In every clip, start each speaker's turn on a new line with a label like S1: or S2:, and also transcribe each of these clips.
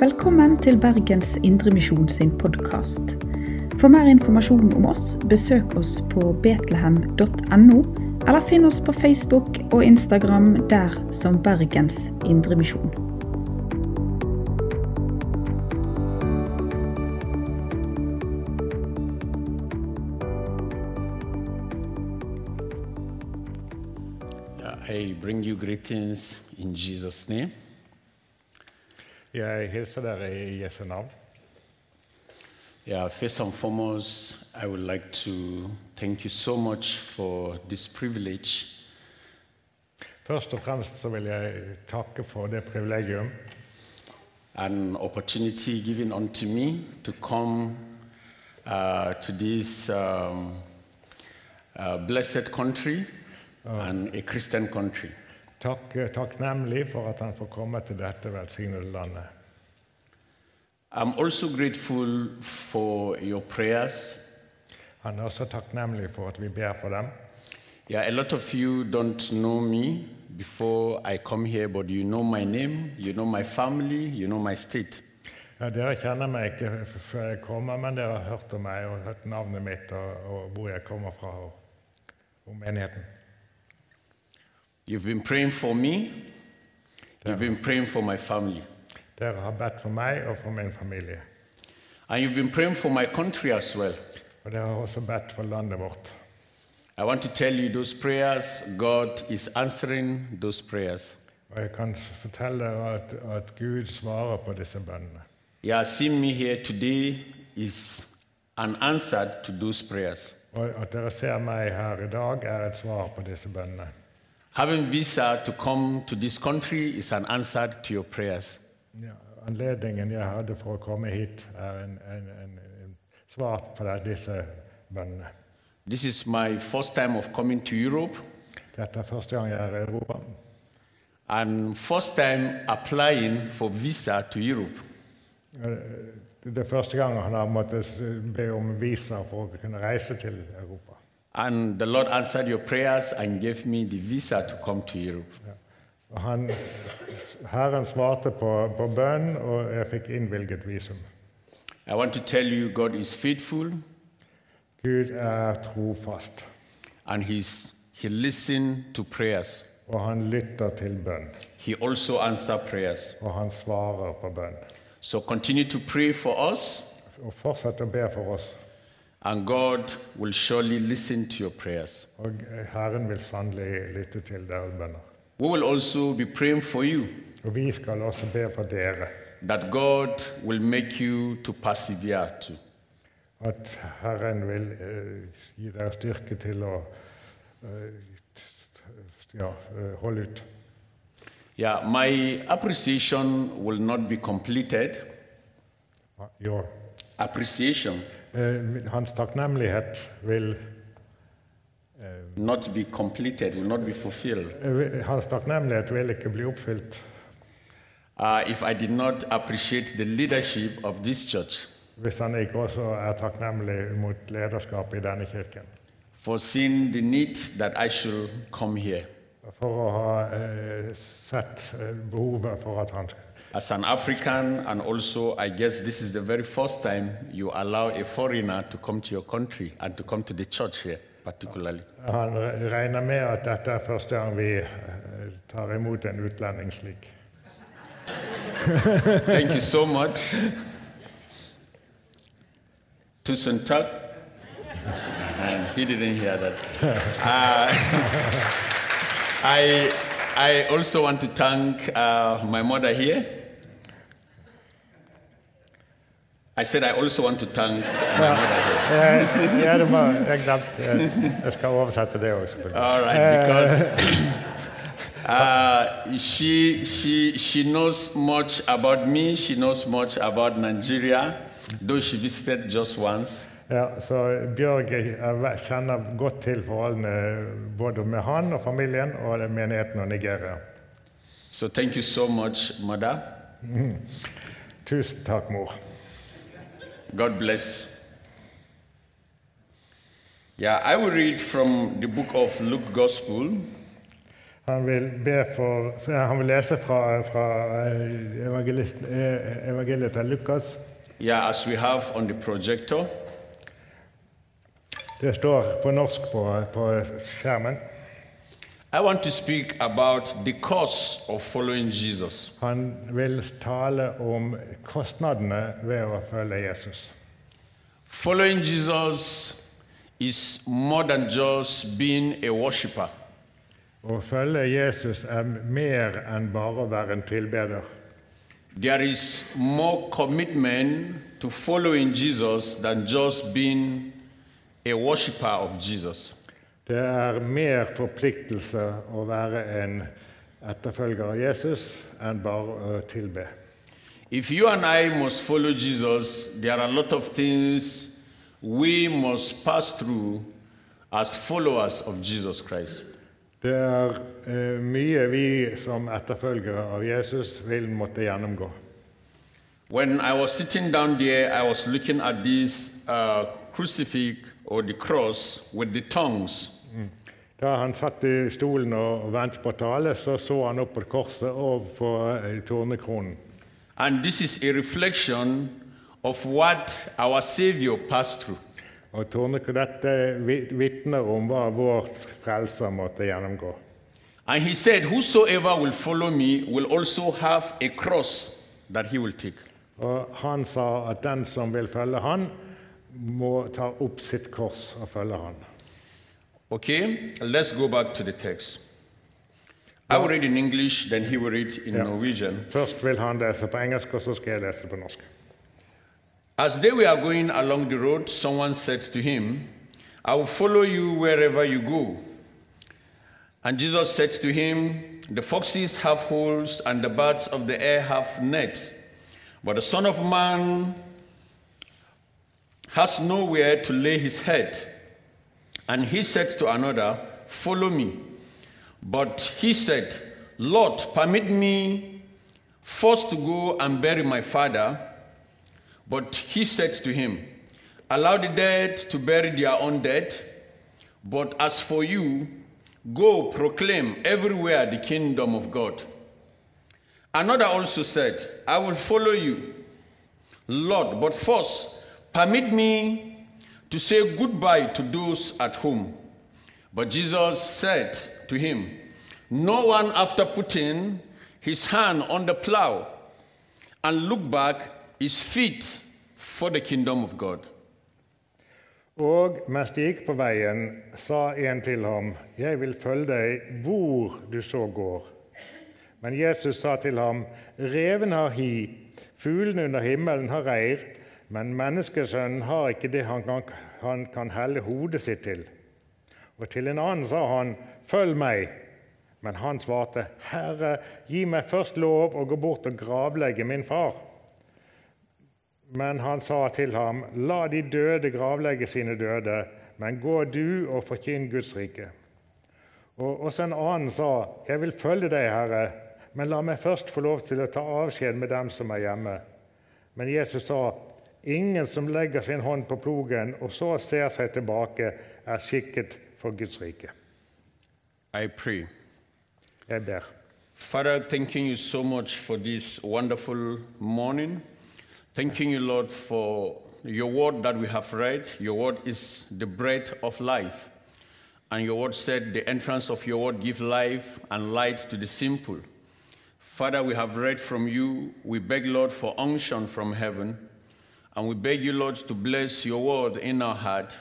S1: Velkommen til Bergens Indremisjon sin podkast. For mer informasjon om oss, besøk oss på betlehem.no, eller finn oss på Facebook og Instagram der som Bergens Indremisjon.
S2: Yeah, I bring you greetings in Jesus' name.
S3: Jeg hilser dere i Jesu navn.
S2: Yeah, first and foremost, I would like to thank you so much for this privilege
S3: Først og fremst så vil jeg takke for det privilegium
S2: and opportunity given unto me to come uh, to this um, uh, blessed country and a Christian country.
S3: Takk, takknemlig for at han får komme til dette velsignede landet.
S2: I'm also grateful for your prayers.
S3: Han er også takknemlig for at vi ber for dem.
S2: Yeah, a lot of you don't know me before I come here, but you know my name, you know my family, you know my state.
S3: Ja, dere kjenner meg ikke f- før jeg kommer, men dere har hørt om meg og hørt navnet mitt og, og hvor jeg kommer fra og, og menigheten.
S2: You've been praying for me, you've been praying for my family,
S3: Dere har bedt for meg og for min familie.
S2: and you've been praying for my country as well.
S3: Og dere har også bedt for landet vårt.
S2: I want to tell you those prayers, God is answering those prayers.
S3: Og jeg kan s- fortelle dere at, at Gud svarer på disse bønnene.
S2: Yeah, seeing me here today is an answer to those prayers.
S3: Og at dere ser meg her i dag, er et svar på disse bønnene.
S2: Having visa to come to this country is an answer to your prayers.
S3: Ja, anledningen jeg hadde for å komme hit, er en, en, en, en svar på de- disse bønnene.
S2: This is my first time of coming to Europe
S3: Dette er første gang jeg er i Europa,
S2: and first time applying for visa to Europe.
S3: Det er første gang han har måttet be om visa for å kunne reise til Europa.
S2: And the Lord answered your prayers and gave me the visa to come to Europe.
S3: Og Han, Herren svarte på, på bønnen, og jeg fikk innvilget visum.
S2: I want to tell you, God is faithful
S3: Gud er trofast,
S2: and he's, He listens to prayers.
S3: og han lytter til bønn,
S2: He also answers prayers.
S3: og han svarer på bønn.
S2: So continue to pray for us,
S3: Og fortsett å be for oss.
S2: and God will surely listen to your prayers.
S3: Og Herren vil sannelig lytte til deres bønner.
S2: We will also be praying for you
S3: Og vi skal også be for dere,
S2: that God will make you to persevere too.
S3: at Herren vil eh, gi dere styrke til å eh, ja, eh, holde ut.
S2: Yeah, my appreciation will not be completed.
S3: Ja.
S2: Appreciation
S3: Eh, Hans takknemlighet vil
S2: not be completed, will not be fulfilled.
S3: eh, Hans takknemlighet vil ikke bli oppfylt
S2: uh, if I did not appreciate the leadership of this church
S3: hvis han ikke også er takknemlig mot lederskapet i denne kirken.
S2: for seeing the need that I should come here.
S3: For å ha eh, sett eh, behovet for at han
S2: As an African, and also I guess this is the very first time you allow a foreigner to come to your country and to come to the church here, particularly.
S3: Han re- regner med at dette er første gang vi eh, tar imot en utlending slik.
S2: Thank you so much. Tusen tak. And he didn't hear that. Uh, I, I also want to thank uh, my mother here. I said I also want to thank my mother here.
S3: Eh, Ja, det var, jeg glemte eh, Jeg skal oversette det òg, selvfølgelig.
S2: All right, because uh, she, she, she knows much about me, she knows much about Nigeria, though she visited just once.
S3: Ja, så Bjørg jeg ve- kjenner godt til forholdene både med han og familien og menigheten og Nigeria.
S2: So thank you so much, Mother.
S3: Tusen takk, mor.
S2: God bless. Yeah, I will read from the book of Luke Gospel,
S3: Han vil, be for, for- han vil lese fra, fra eh, evangelist- eh, evangeliet til Lukas.
S2: Yeah, as we have on the projector,
S3: Det står på norsk på, på skjermen.
S2: I want to speak about the cost of following Jesus.
S3: Han vil tale om kostnadene ved å følge Jesus.
S2: Following Jesus is more than just being a worshiper.
S3: Å følge Jesus er mer enn bare å være en tilbeder.
S2: There is more commitment to following Jesus than just being a worshiper of Jesus.
S3: Det er mer forpliktelse å være en etterfølger av Jesus enn bare å tilbe.
S2: If you and I must follow Jesus, there are a lot of things we must pass through as followers of Jesus Christ.
S3: Det er eh, mye vi som etterfølgere av Jesus vil måtte gjennomgå.
S2: When I was sitting down there, I was looking at this uh, crucifix or the cross with the tongues.
S3: Da han satt i stolen og og ventet på tale, så så han opp på korset og på eh, tornekronen.
S2: And this is a reflection of what our Savior passed through.
S3: Og tornekronen, dette vi- vitner om hva vår frelser måtte gjennomgå.
S2: And he said, Whosoever will follow me will also have a cross that he will take.
S3: Og han sa at den som vil følge han, må ta opp sitt kors og følge han.
S2: Okay, let's go back to the text. I will read in English, then he will read in Norwegian.
S3: Først vil han lese på engelsk, og så skal jeg lese på norsk.
S2: As they were going along the road, someone said to him, I will follow you wherever you go. And Jesus said to him, The foxes have holes, and the birds of the air have nets, but the Son of Man has nowhere to lay his head. And he said to another, Follow me. But he said, Lord, permit me first to go and bury my father. But he said to him, Allow the dead to bury their own dead, but as for you, go proclaim everywhere the kingdom of God. Another also said, I will follow you, Lord, but first permit me to say goodbye to those at home. But Jesus said to him, No one, after putting his hand on the plow, and look back is fit for the kingdom of God.
S3: Og mens de gikk på veien, sa en til ham, 'Jeg vil følge deg hvor du så går.' Men Jesus sa til ham, 'Reven har hi, fuglene under himmelen har reir, men menneskesønnen har ikke det han kan, han kan helle hodet sitt til.' Og til en annen sa han, 'Følg meg.' Men han svarte, 'Herre, gi meg først lov å gå bort og gravlegge min far.' Men han sa til ham, la de døde gravlegge sine døde, men gå du og forkynn Guds rike. Og også en annen sa, jeg vil følge deg, Herre, men la meg først få lov til å ta avskjed med dem som er hjemme. Men Jesus sa, ingen som legger sin hånd på plogen og så ser seg tilbake, er skikket for Guds rike.
S2: I pray.
S3: Jeg ber.
S2: Father, thanking you so much for this wonderful morning. Thanking you, Lord, for your word that we have read. Your word is the bread of life. And your word said, The entrance of your word give life and light to the simple. Father, we have read from you. We beg, Lord, for unction from heaven. And we beg you, Lord, to bless your word in our heart,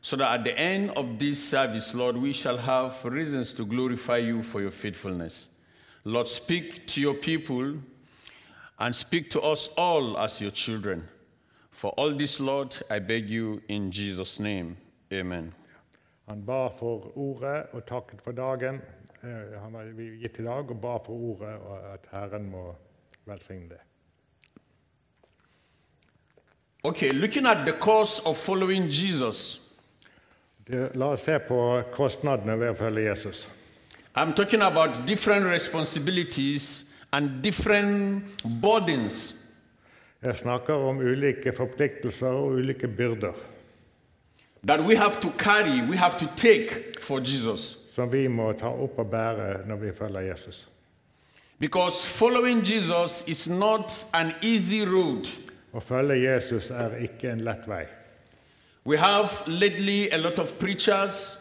S2: so that at the end of this service, Lord, we shall have reasons to glorify you for your faithfulness. Lord, speak to your people and speak to us all as your children. For all this, Lord, I beg you in Jesus' name. Amen.
S3: Han ba for ordet og takket for dagen. Eh, Han var gitt i dag og ba for ordet, og at Herren må velsigne det.
S2: Okay, looking at the cost of following Jesus,
S3: Det- La oss se på kostnadene ved å følge Jesus.
S2: I'm talking about different responsibilities and different burdens
S3: Jeg snakker om ulike forpliktelser og ulike byrder.
S2: that we have to carry, we have to take for Jesus.
S3: som vi må ta opp og bære når vi følger Jesus.
S2: Because following Jesus is not an easy road.
S3: Å følge Jesus er ikke en lett vei.
S2: We have lately a lot of preachers,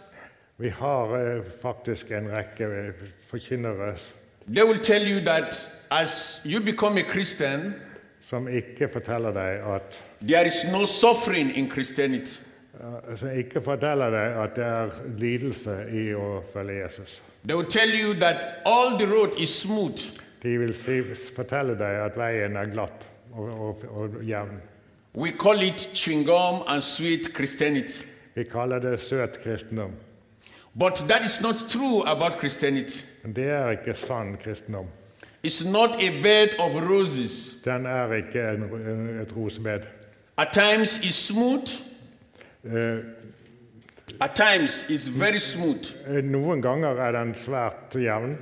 S3: Vi har eh, faktisk en rekke eh, forkynnere
S2: they will tell you that as you become a Christian,
S3: som ikke forteller deg at
S2: there is no suffering in Christianity.
S3: eh, som ikke forteller deg at det er lidelse i å følge Jesus.
S2: They will tell you that all the road is smooth.
S3: De vil si, fortelle deg at veien er glatt og, og, og jevn.
S2: We call it chewing gum and sweet Christianity.
S3: Vi kaller det søt kristendom.
S2: But that is not true about Christianity.
S3: Men det er ikke sann kristendom.
S2: It's not a bed of roses.
S3: Den er ikke en, en, et rosebed.
S2: At times it's smooth,
S3: Eh,
S2: at times it's very smooth,
S3: noen ganger er den svært jevn,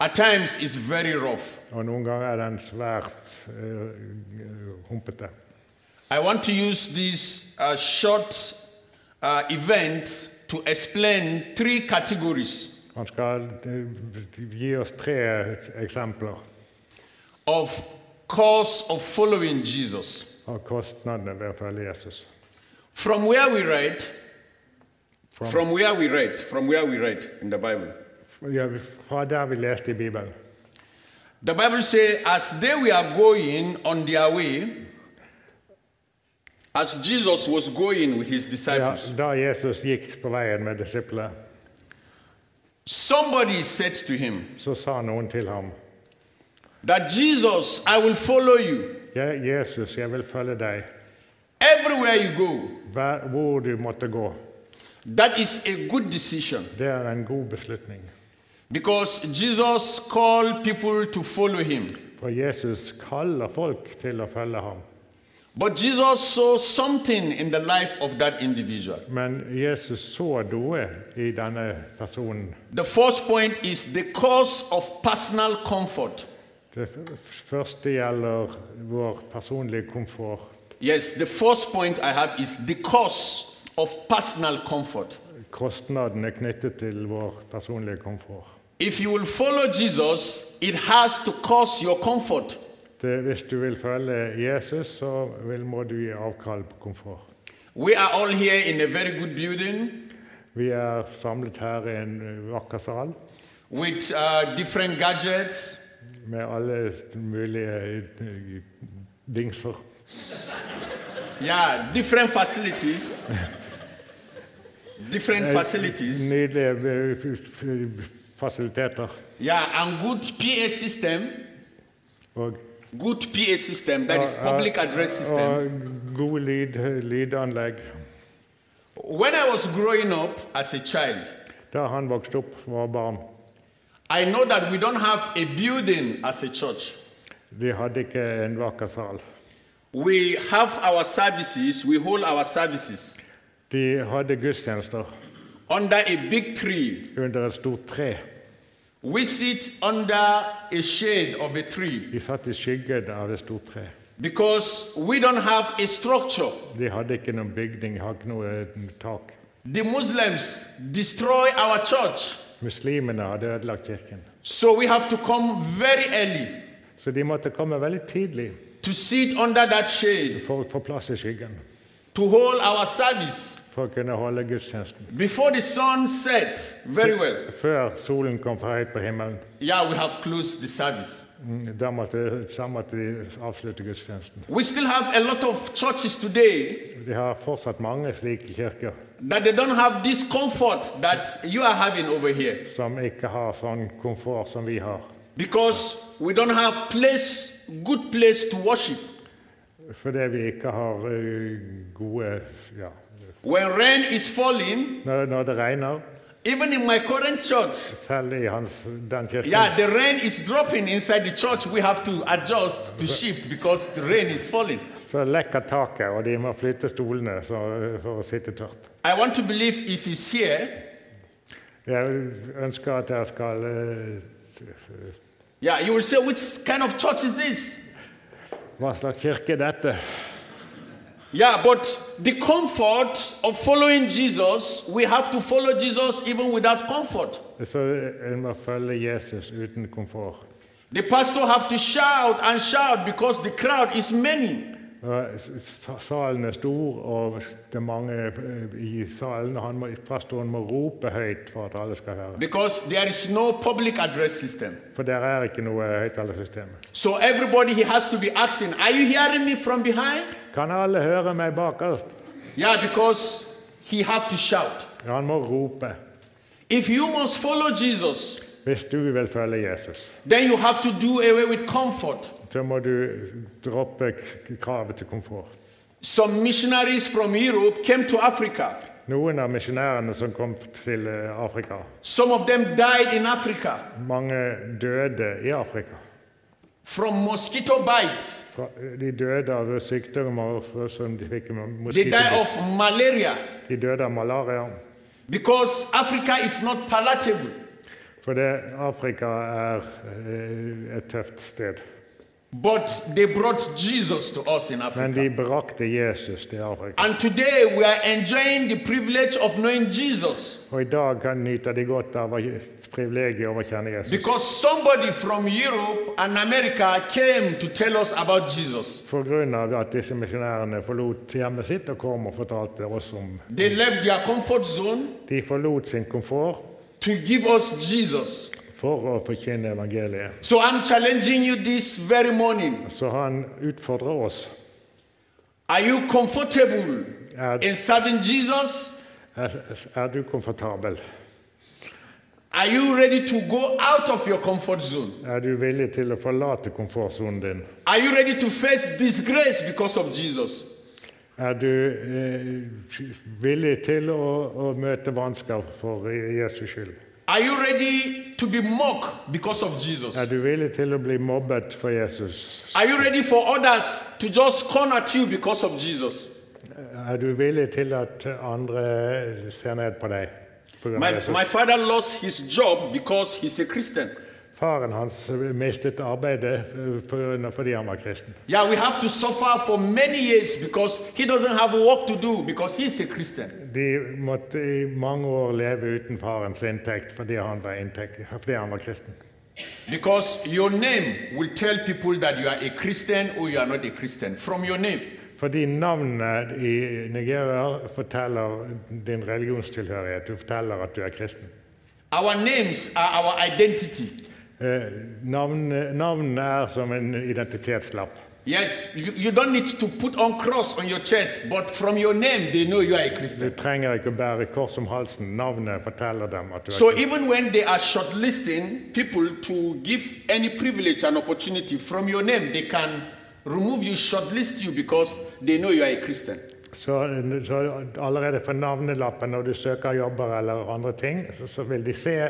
S2: at times it's very rough.
S3: og noen ganger er den svært eh, humpete.
S2: I want to use this uh, short uh, event to explain three categories
S3: Han skal eh, gi oss tre eksempler
S2: of course of following Jesus.
S3: av kostnadene ved å følge Jesus.
S2: From where we read, from where we read, from where we read in the Bible.
S3: Ja, Fra der vi leste i Bibelen.
S2: The Bible says, as they were going on their way, as Jesus was going with his
S3: Ja,
S2: disciples,
S3: da Jesus gikk på veien med disiplene,
S2: somebody said to him,
S3: så sa noen til ham
S2: That Jesus, I will follow you
S3: «Ja, Jesus, jeg vil følge deg
S2: everywhere you go.
S3: hver- hvor du måtte gå.
S2: That is a good decision
S3: Det er en god beslutning.
S2: because Jesus called people to follow him.
S3: For Jesus kaller folk til å følge ham.
S2: But Jesus saw something in the life of that individual.
S3: Men Jesus så noe i denne personen.
S2: The first point is the cause of personal comfort.
S3: Det f- første gjelder vår personlige komfort.
S2: Yes, the first point I have is the cause of personal comfort.
S3: Kostnadene knyttet til vår personlige komfort.
S2: If you will follow Jesus, it has to cause your comfort.
S3: Det, eh, hvis du vil følge Jesus, så vil, må du gi avkall på komfort.
S2: We are all here in a very good building
S3: Vi er samlet her i en eh, vakker sal
S2: with uh, different gadgets,
S3: med alle mulige eh, dingser.
S2: yeah, different facilities. different facilities,
S3: Nydelige eh, f- f- fasiliteter.
S2: yeah, and good PA system.
S3: Og,
S2: Good PA system, that
S3: Uh,
S2: is public address system.
S3: og god lyd, lydanlegg.
S2: When I was growing up as a child,
S3: Da han vokste opp, var barn.
S2: I know that we don't have a building as a church.
S3: De hadde ikke en vakker sal.
S2: We have our services, we hold our services
S3: De hadde gudstjenester
S2: under a big tree.
S3: under et stort tre.
S2: We sit under a shade of a tree
S3: De satt i skyggen av et stort tre.
S2: because we don't have a structure.
S3: De hadde ikke noen bygning, hadde ikke noe eh, tak.
S2: The Muslims destroy our church,
S3: Muslimene hadde ødelagt kirken.
S2: so we have to come very early
S3: Så de måtte komme veldig tidlig
S2: to sit under that shade
S3: for å få plass i skyggen.
S2: to hold our service
S3: For å kunne holde gudstjenesten.
S2: before the sun set very well.
S3: Før solen kom for høyt på himmelen.
S2: Yeah, we have closed the service.
S3: Mm, Da måtte, så måtte de avslutte gudstjenesten.
S2: We still have a lot of churches today
S3: De har fortsatt mange slike kirker
S2: that they don't have this comfort that you are having over here
S3: som ikke har sånn komfort som vi har.
S2: because we don't have place good place to worship
S3: Fordi vi ikke har eh, gode ja.
S2: when rain is falling
S3: når, når det regner,
S2: even in my current church
S3: selv i hans, den kirken,
S2: yeah the rain is dropping inside the church we have to adjust to shift because the rain is falling
S3: så lekker taket, og de må flytte stolene så, for å sitte tørt.
S2: i want to believe if it's here
S3: Jeg ønsker at dere skal eh,
S2: yeah you will say which kind of church is this
S3: Hva slags kirke er dette?
S2: Yeah, but the comfort of following Jesus, we have to follow Jesus even without comfort.
S3: Så en må følge Jesus uten komfort.
S2: The pastor have to shout and shout because the crowd is many.
S3: Og s- s- Salen er stor, og det er mange eh, i salen. og Han må, pastoren må rope høyt for at alle skal høre.
S2: Because there is no public address system.
S3: For der er ikke noe høyttalersystem.
S2: So everybody he has to be asking, Are you hearing me from behind?
S3: Kan alle høre meg bakerst?
S2: Yeah, because he have to shout.
S3: Ja, han må rope.
S2: If you must follow Jesus,
S3: Hvis du vil følge Jesus,
S2: then you have to do away with comfort.
S3: så må du droppe k- kravet til komfort.
S2: Some missionaries from Europe came to Africa.
S3: Noen av misjonærene som kom til eh, Afrika,
S2: Some of them died in Africa
S3: mange døde i Afrika.
S2: from mosquito bites.
S3: Fra- De døde av sykdommer som de fikk med
S2: They die
S3: moskitobitt.
S2: of malaria
S3: De døde av malaria.
S2: because Africa is not palatable.
S3: For det, Afrika er eh, et tøft sted.
S2: But they brought Jesus to us in Africa.
S3: Men de brakte Jesus til Afrika.
S2: And today we are enjoying the privilege of knowing Jesus
S3: Og i dag kan nyte de godt av å- privilegiet over å kjenne Jesus.
S2: because somebody from Europe and America came to tell us about Jesus.
S3: For grunn av at disse misjonærene forlot hjemmet sitt og kom og fortalte oss om
S2: They left their comfort zone
S3: De forlot sin komfort
S2: to give us Jesus.
S3: for å forkynne evangeliet.
S2: So I'm challenging you this very morning.
S3: Så han utfordrer oss.
S2: Are you comfortable
S3: Er,
S2: in serving Jesus?
S3: er, er du komfortabel?
S2: Are you ready to go out of your comfort zone?
S3: Er du villig til å forlate komfortsonen din?
S2: Are you ready to face disgrace because of Jesus?
S3: Er du eh, villig til å, å møte vansker for Jesus skyld?
S2: Are you ready to be mocked because of Jesus?
S3: Er du villig til å bli mobbet for Jesus?
S2: Are you ready for others to just scorn at you because of Jesus?
S3: Er du villig til at andre ser ned på deg? på grunn av
S2: My,
S3: Jesus?
S2: my father lost his job because he's a Christian.
S3: Faren hans mistet arbeidet eh, på grunn av- fordi han var kristen.
S2: Yeah, we have to suffer for many years because he doesn't have work to do because he's a Christian.
S3: De måtte i mange år leve uten farens inntekt fordi han var, inntekt, fordi han var kristen.
S2: Because your name will tell people that you are a Christian or you are not a Christian from your name.
S3: Fordi navnet i Nigeria forteller din religionstilhørighet. Du forteller at du er kristen.
S2: Our names are our identity.
S3: Eh, Navn- Navnene er som en identitetslapp.
S2: Yes, you, you don't need to put on cross on your chest, but from your name they know you are a
S3: Du
S2: Christian.
S3: trenger ikke å bære kors om halsen. Navnet forteller dem at du er
S2: So
S3: kristen.
S2: even when they are shortlisting people to give any privilege and opportunity from your name, they can remove you, shortlist you because they know you are a Christian.
S3: Så, så allerede på navnelappen når du søker jobber eller andre ting, så, så vil de se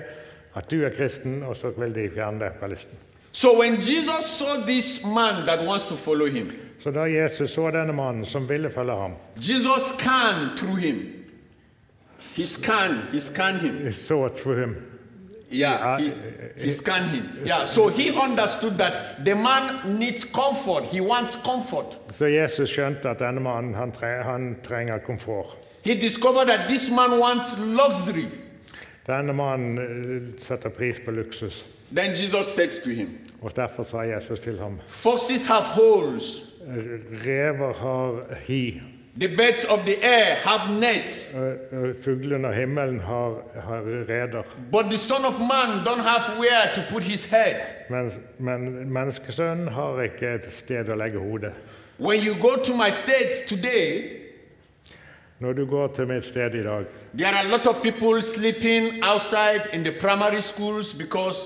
S3: at du er kristen, og så vil de fjerne deg fra listen.
S2: So when Jesus saw this man that wants to follow him,
S3: Så da Jesus så denne mannen som ville følge ham,
S2: Jesus scanned through him. He scanned, he scanned him.
S3: så through him.
S2: Yeah, he, he scanned him. Yeah, so he understood that the man needs comfort. He wants comfort.
S3: Så Jesus skjønte at denne mannen han, tre, han trenger komfort.
S2: He discovered that this man wants luxury.
S3: Denne mannen eh, setter pris på luksus,
S2: Then Jesus said to him,
S3: og derfor sa Jesus til ham
S2: Foxes have holes,
S3: Rever har hi,
S2: the birds of the air have nets,
S3: eh, eh, fuglene og himmelen har, har reder,
S2: but the Son of Man don't have where to put his head.
S3: men, men menneskesønnen har ikke et sted å legge hodet.
S2: When you go to my state today,
S3: Når du går til mitt sted i dag,
S2: there are a lot of people sleeping outside in the primary schools because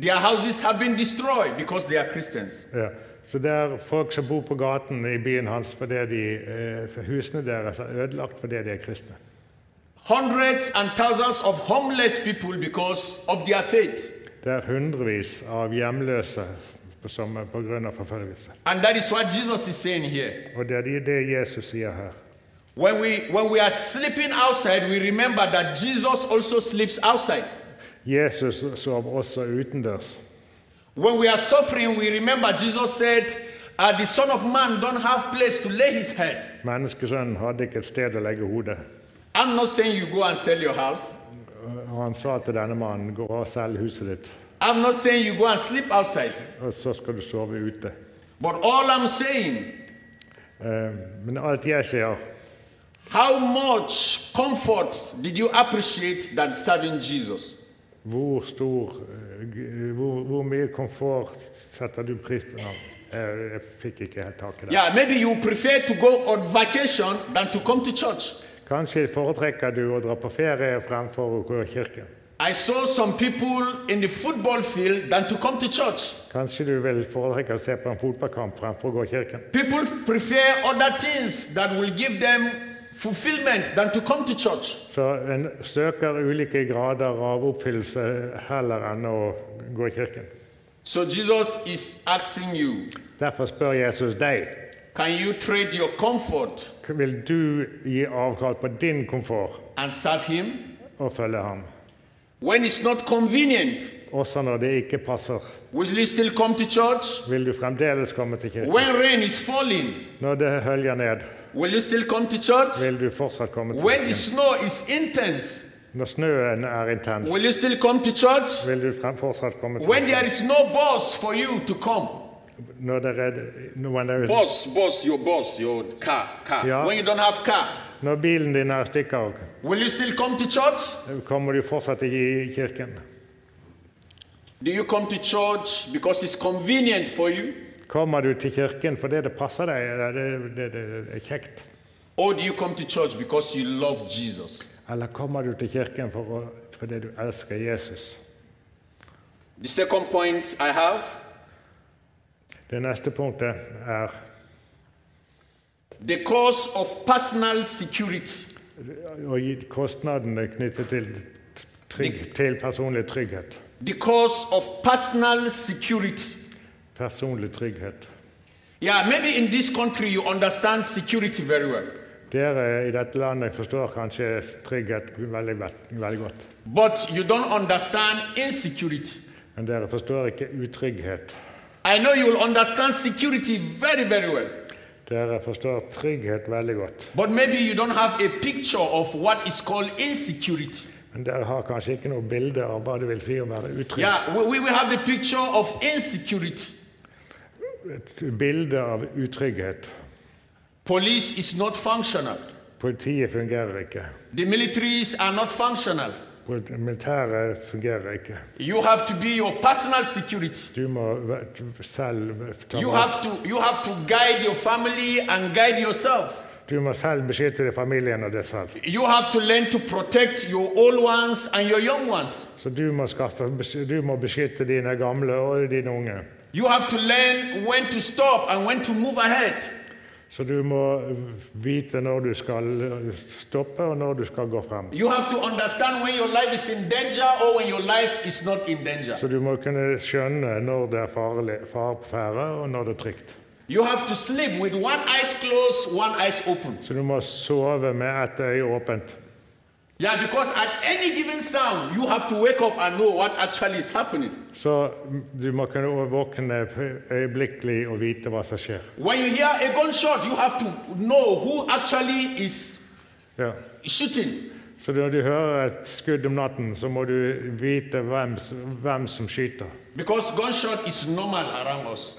S2: their houses have been destroyed because they are Christians.
S3: Ja. Så det er folk som bor på gaten i byen hans fordi de, eh, for husene deres er ødelagt fordi de er kristne.
S2: Hundreds and thousands of homeless people because of their faith.
S3: Det er hundrevis av hjemløse på- som er pga. forfølgelse.
S2: And that is what Jesus is saying here.
S3: Og det er de- det Jesus sier her.
S2: When we when we are sleeping outside, we remember that Jesus also sleeps outside.
S3: Jesus sov også utendørs.
S2: When we are suffering, we remember Jesus said, uh, Uh, the Son of Man don't have place to lay his head.
S3: Menneskesønnen hadde ikke et sted å legge hodet.
S2: I'm not saying you go and sell your house.
S3: Og han sa til denne mannen, gå og selg huset ditt,
S2: I'm not saying you go and sleep outside.
S3: og så skal du sove ute.
S2: But all I'm saying,
S3: Eh, Men alt jeg sier,
S2: how much comfort did you appreciate than serving Jesus?
S3: hvor stor, eh, g- hvor, hvor mye komfort setter du pris på? Ja, Jeg, jeg fikk ikke helt tak i det.
S2: Yeah, maybe you prefer to go on vacation than to come to church.
S3: Kanskje foretrekker du å dra på ferie fremfor å gå i kirken.
S2: I saw some people in the football field than to come to church.
S3: Kanskje du vil foretrekke å se på en fotballkamp fremfor å gå i kirken.
S2: People prefer other things that will give them fulfillment than to come to church.
S3: Så en søker ulike grader av oppfyllelse heller enn å gå i kirken.
S2: So Jesus is asking you,
S3: Derfor spør Jesus deg
S2: can you trade your comfort
S3: vil du gi avkall på din komfort
S2: and serve him
S3: og følge ham,
S2: when it's not convenient?
S3: også når det ikke passer.
S2: Will you still come to church?
S3: Vil du fremdeles komme til kirken?
S2: When rain is falling,
S3: Når det høljer ned,
S2: will you still come to church?
S3: vil du fortsatt komme til
S2: When the
S3: kirken.
S2: snow is intense,
S3: Når snøen er intens,
S2: will you still come to church?
S3: vil du frem, fortsatt komme til
S2: When there
S3: kirken.
S2: is no boss for you to come.
S3: Når det er, når, det er,
S2: Boss, boss, your boss, your car, car.
S3: Yeah.
S2: When you don't have car,
S3: når bilen din er i stykker,
S2: will you still come to church?
S3: kommer du fortsatt ikke i kirken.
S2: Do you come to church because it's convenient for you?
S3: Kommer du til kirken fordi det passer deg, eller det, det, det, det er kjekt?
S2: Or do you come to church because you love Jesus?
S3: Eller kommer du til kirken for å, fordi du elsker Jesus?
S2: The second point I have
S3: Det neste punktet er
S2: the cause of personal security.
S3: å gi kostnadene knyttet til, trygg, til personlig trygghet.
S2: The cause of personal security.
S3: Personlig trygghet.
S2: Yeah, maybe in this country you understand security very well.
S3: Dere i dette landet forstår kanskje trygghet veldig, veldig godt.
S2: But you don't understand insecurity.
S3: Men dere forstår ikke utrygghet.
S2: I know you will understand security very, very well.
S3: Dere forstår trygghet veldig godt.
S2: But maybe you don't have a picture of what is called insecurity.
S3: Men dere har kanskje ikke noe bilde av hva det vil si å være utrygg.
S2: Yeah, we, we will have the picture of insecurity.
S3: Et bilde av utrygghet.
S2: Police is not functional.
S3: Politiet fungerer ikke.
S2: The militaries are not functional.
S3: Polit- Militæret fungerer ikke.
S2: You have to be your personal security.
S3: Du må v- t- selv ta
S2: You
S3: vare-
S2: have to you have to guide your family and guide yourself.
S3: Du må selv beskytte deg, familien og deg selv.
S2: You have to learn to protect your old ones and your young ones.
S3: Så du må, skaffe, bes- du må beskytte dine gamle og dine unge.
S2: You have to learn when to stop and when to move ahead.
S3: Så du må vite når du skal stoppe, og når du skal gå frem.
S2: You have to understand when your life is in danger or when your life is not in danger.
S3: Så du må kunne skjønne når det er farlig, fare på ferde, og når det er trygt.
S2: You have to sleep with one eye closed, one eye open.
S3: Så du må sove med ett øye åpent.
S2: Yeah, because at any given sound, you have to wake up and know what actually is happening.
S3: Så du må kunne våkne øyeblikkelig og vite hva som skjer.
S2: When you hear a gunshot, you have to know who actually is
S3: Ja.
S2: shooting.
S3: Så når du hører et skudd om natten, så må du vite hvem, s- hvem som skyter.
S2: Because gunshot is normal around us.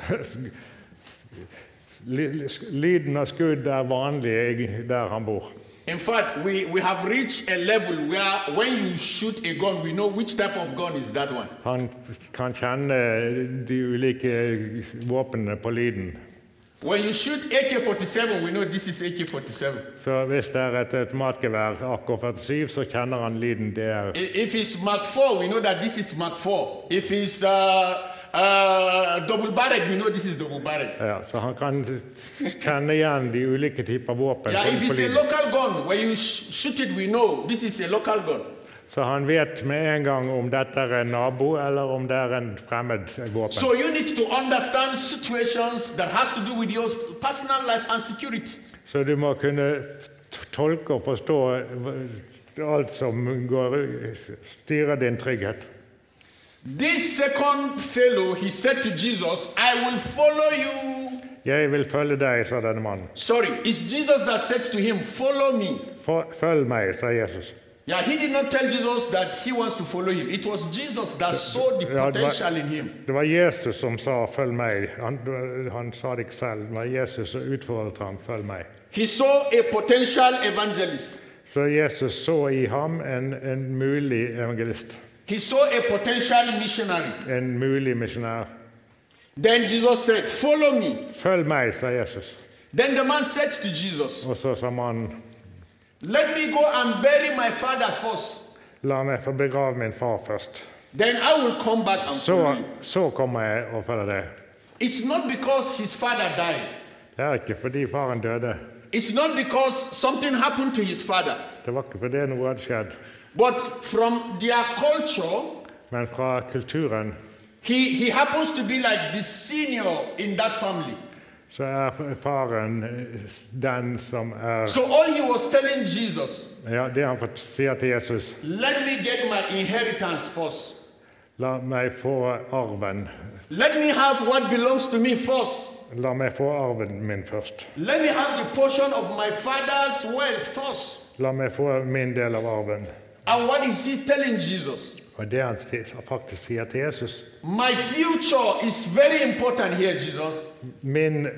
S3: Ly- ly- sk- Lyden av skudd er vanlig i- der han bor.
S2: In fact, we, we have reached a level where when you shoot a gun, we know which type of gun is that one.
S3: Han kan kjenne eh, de ulike våpnene på lyden.
S2: When you shoot AK 47, we know this is AK 47.
S3: Så hvis det er et automatgevær AK-47, så kjenner han lyden. Det er
S2: If it's Mark 4, we know that this is Mark 4. If it's uh, uh, double barrel, we know this is double barrel.
S3: ja, så han kan kjenne igjen de ulike typer våpen.
S2: Yeah, if
S3: på- på
S2: it's a
S3: lyden.
S2: local gun, when you sh- shoot it, we know this is a local gun.
S3: Så han vet med en gang om dette er en nabo, eller om det er en fremmed våpen.
S2: So you need to understand situations that has to do with your personal life and security.
S3: Så du må kunne t- tolke og forstå hva- alt som går, styrer din trygghet.
S2: This second fellow, he said to Jesus, I will follow you
S3: 'Jeg vil følge deg', sa denne mannen.
S2: Sorry, it's Jesus that said to him, Follow me.
S3: For, 'Følg meg', sa Jesus.
S2: Yeah, he did not tell Jesus that he wants to follow him. It was Jesus that saw the
S3: Yeah, but-
S2: potential in him.
S3: Det var Jesus som sa 'følg meg'. Han, han sa det ikke selv. Det var Jesus som utfordret ham 'følg meg'.
S2: He saw a potential evangelist.
S3: Så Jesus så i ham en, en mulig evangelist,
S2: He saw a potential missionary.
S3: en mulig misjonær.
S2: Then Jesus said, Follow me.
S3: 'Følg meg', sa Jesus.
S2: Then the man said to Jesus,
S3: Og så sa mannen
S2: Let me go and bury my father first.
S3: 'la meg få begrave min far først'.
S2: Then I will come back and
S3: Så,
S2: follow you.
S3: så kommer jeg og følger deg.
S2: It's not because his father died.
S3: Det er ikke fordi faren døde.
S2: It's not because something happened to his father.
S3: Det var ikke fordi noe hadde skjedd.
S2: But from their culture,
S3: Men fra kulturen
S2: he, he happens to be like the senior in that family.
S3: så er faren eh, den som er
S2: So all he was telling Jesus,
S3: Ja, det han fått- sier til Jesus
S2: let me get my inheritance first.
S3: La meg få arven.
S2: Let me have what belongs to me first.
S3: La meg få arven min først.
S2: Let me have the portion of my father's wealth first.
S3: La meg få min del av arven.
S2: And what is he telling Jesus?
S3: Og det han si- faktisk sier til Jesus
S2: My future is very important here, Jesus.
S3: Min eh,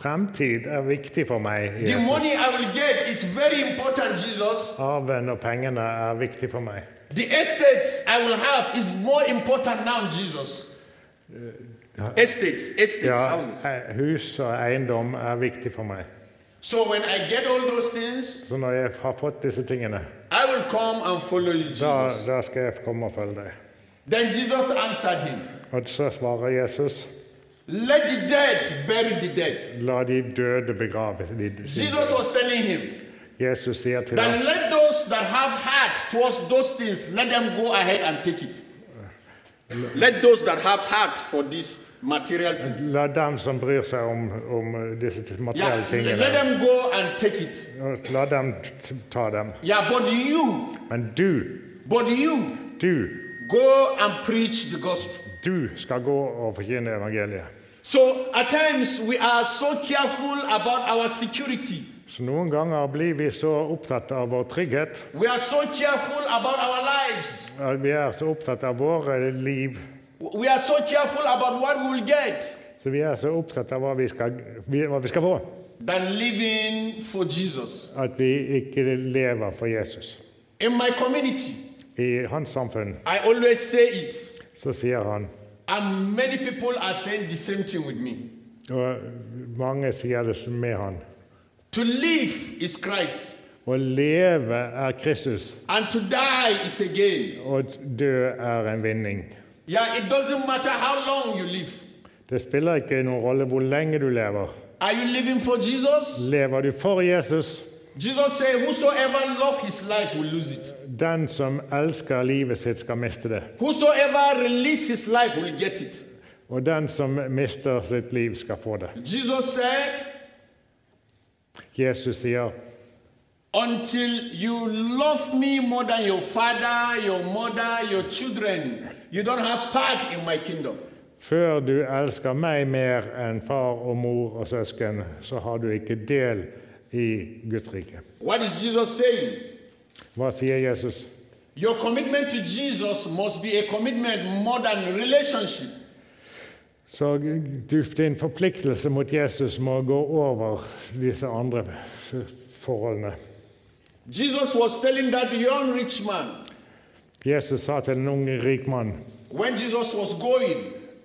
S3: fremtid er viktig for meg.
S2: The
S3: Jesus.
S2: money I will get is very important, Jesus.
S3: Arven og pengene er viktig for meg.
S2: The estates I will have is more important now, Jesus. Estates, estates,
S3: Ja, eh, hus og eiendom er viktig for meg.
S2: So when I get all those things,
S3: Så når jeg har fått disse tingene,
S2: I will come and follow you, Jesus.
S3: da, da skal jeg komme og følge deg.
S2: Then Jesus answered him,
S3: Og så svarer Jesus
S2: Let the dead bury the dead.
S3: La de døde begraves. De,
S2: Jesus was telling him,
S3: Jesus sier til ham
S2: Then let those that have heart towards those things, let them go ahead and take it. Let those that have heart for these material things,
S3: La dem som bryr seg om, om disse materielle
S2: yeah, let
S3: tingene,
S2: them go and take it.
S3: og la dem t- ta dem.
S2: Yeah, but you,
S3: Men du,
S2: but you,
S3: du,
S2: go and preach the gospel.
S3: du skal gå og forkynne evangeliet.
S2: So at times we are so careful about our security.
S3: Så noen ganger blir vi så opptatt av vår trygghet,
S2: We are so careful about our lives.
S3: at vi er så opptatt av våre liv,
S2: We are so careful about what we will get
S3: så vi er så opptatt av hva vi skal, vi- hva vi skal få,
S2: than living for Jesus.
S3: at vi ikke lever for Jesus.
S2: In my community,
S3: I hans samfunn
S2: I always say it.
S3: så sier han,
S2: And many people are saying the same thing with me.
S3: og mange sier det med han,
S2: To live is Christ,
S3: å leve er Kristus,
S2: and to die is again.
S3: og dø er en vinning.
S2: Yeah, it doesn't matter how long you live.
S3: Det spiller ikke noen rolle hvor lenge du lever.
S2: Are you living for Jesus?
S3: Lever du for Jesus?
S2: Jesus said, Whosoever love his life will lose it.
S3: Den som elsker livet sitt, skal miste det.
S2: Whosoever release his life will get it.
S3: Og den som mister sitt liv, skal få det.
S2: Jesus said,
S3: Jesus sier,
S2: Until you love me more than your father, your mother, your children, you don't have part in my kingdom.
S3: før du elsker meg mer enn far og mor og søsken, så har du ikke del i Guds rike.
S2: What is Jesus saying?
S3: Hva sier Jesus?
S2: Your commitment to Jesus must be a commitment more than relationship.
S3: Så du, din forpliktelse mot Jesus må gå over disse andre forholdene.
S2: Jesus was telling that young rich man
S3: Jesus sa til en ung rik mann
S2: when Jesus was going,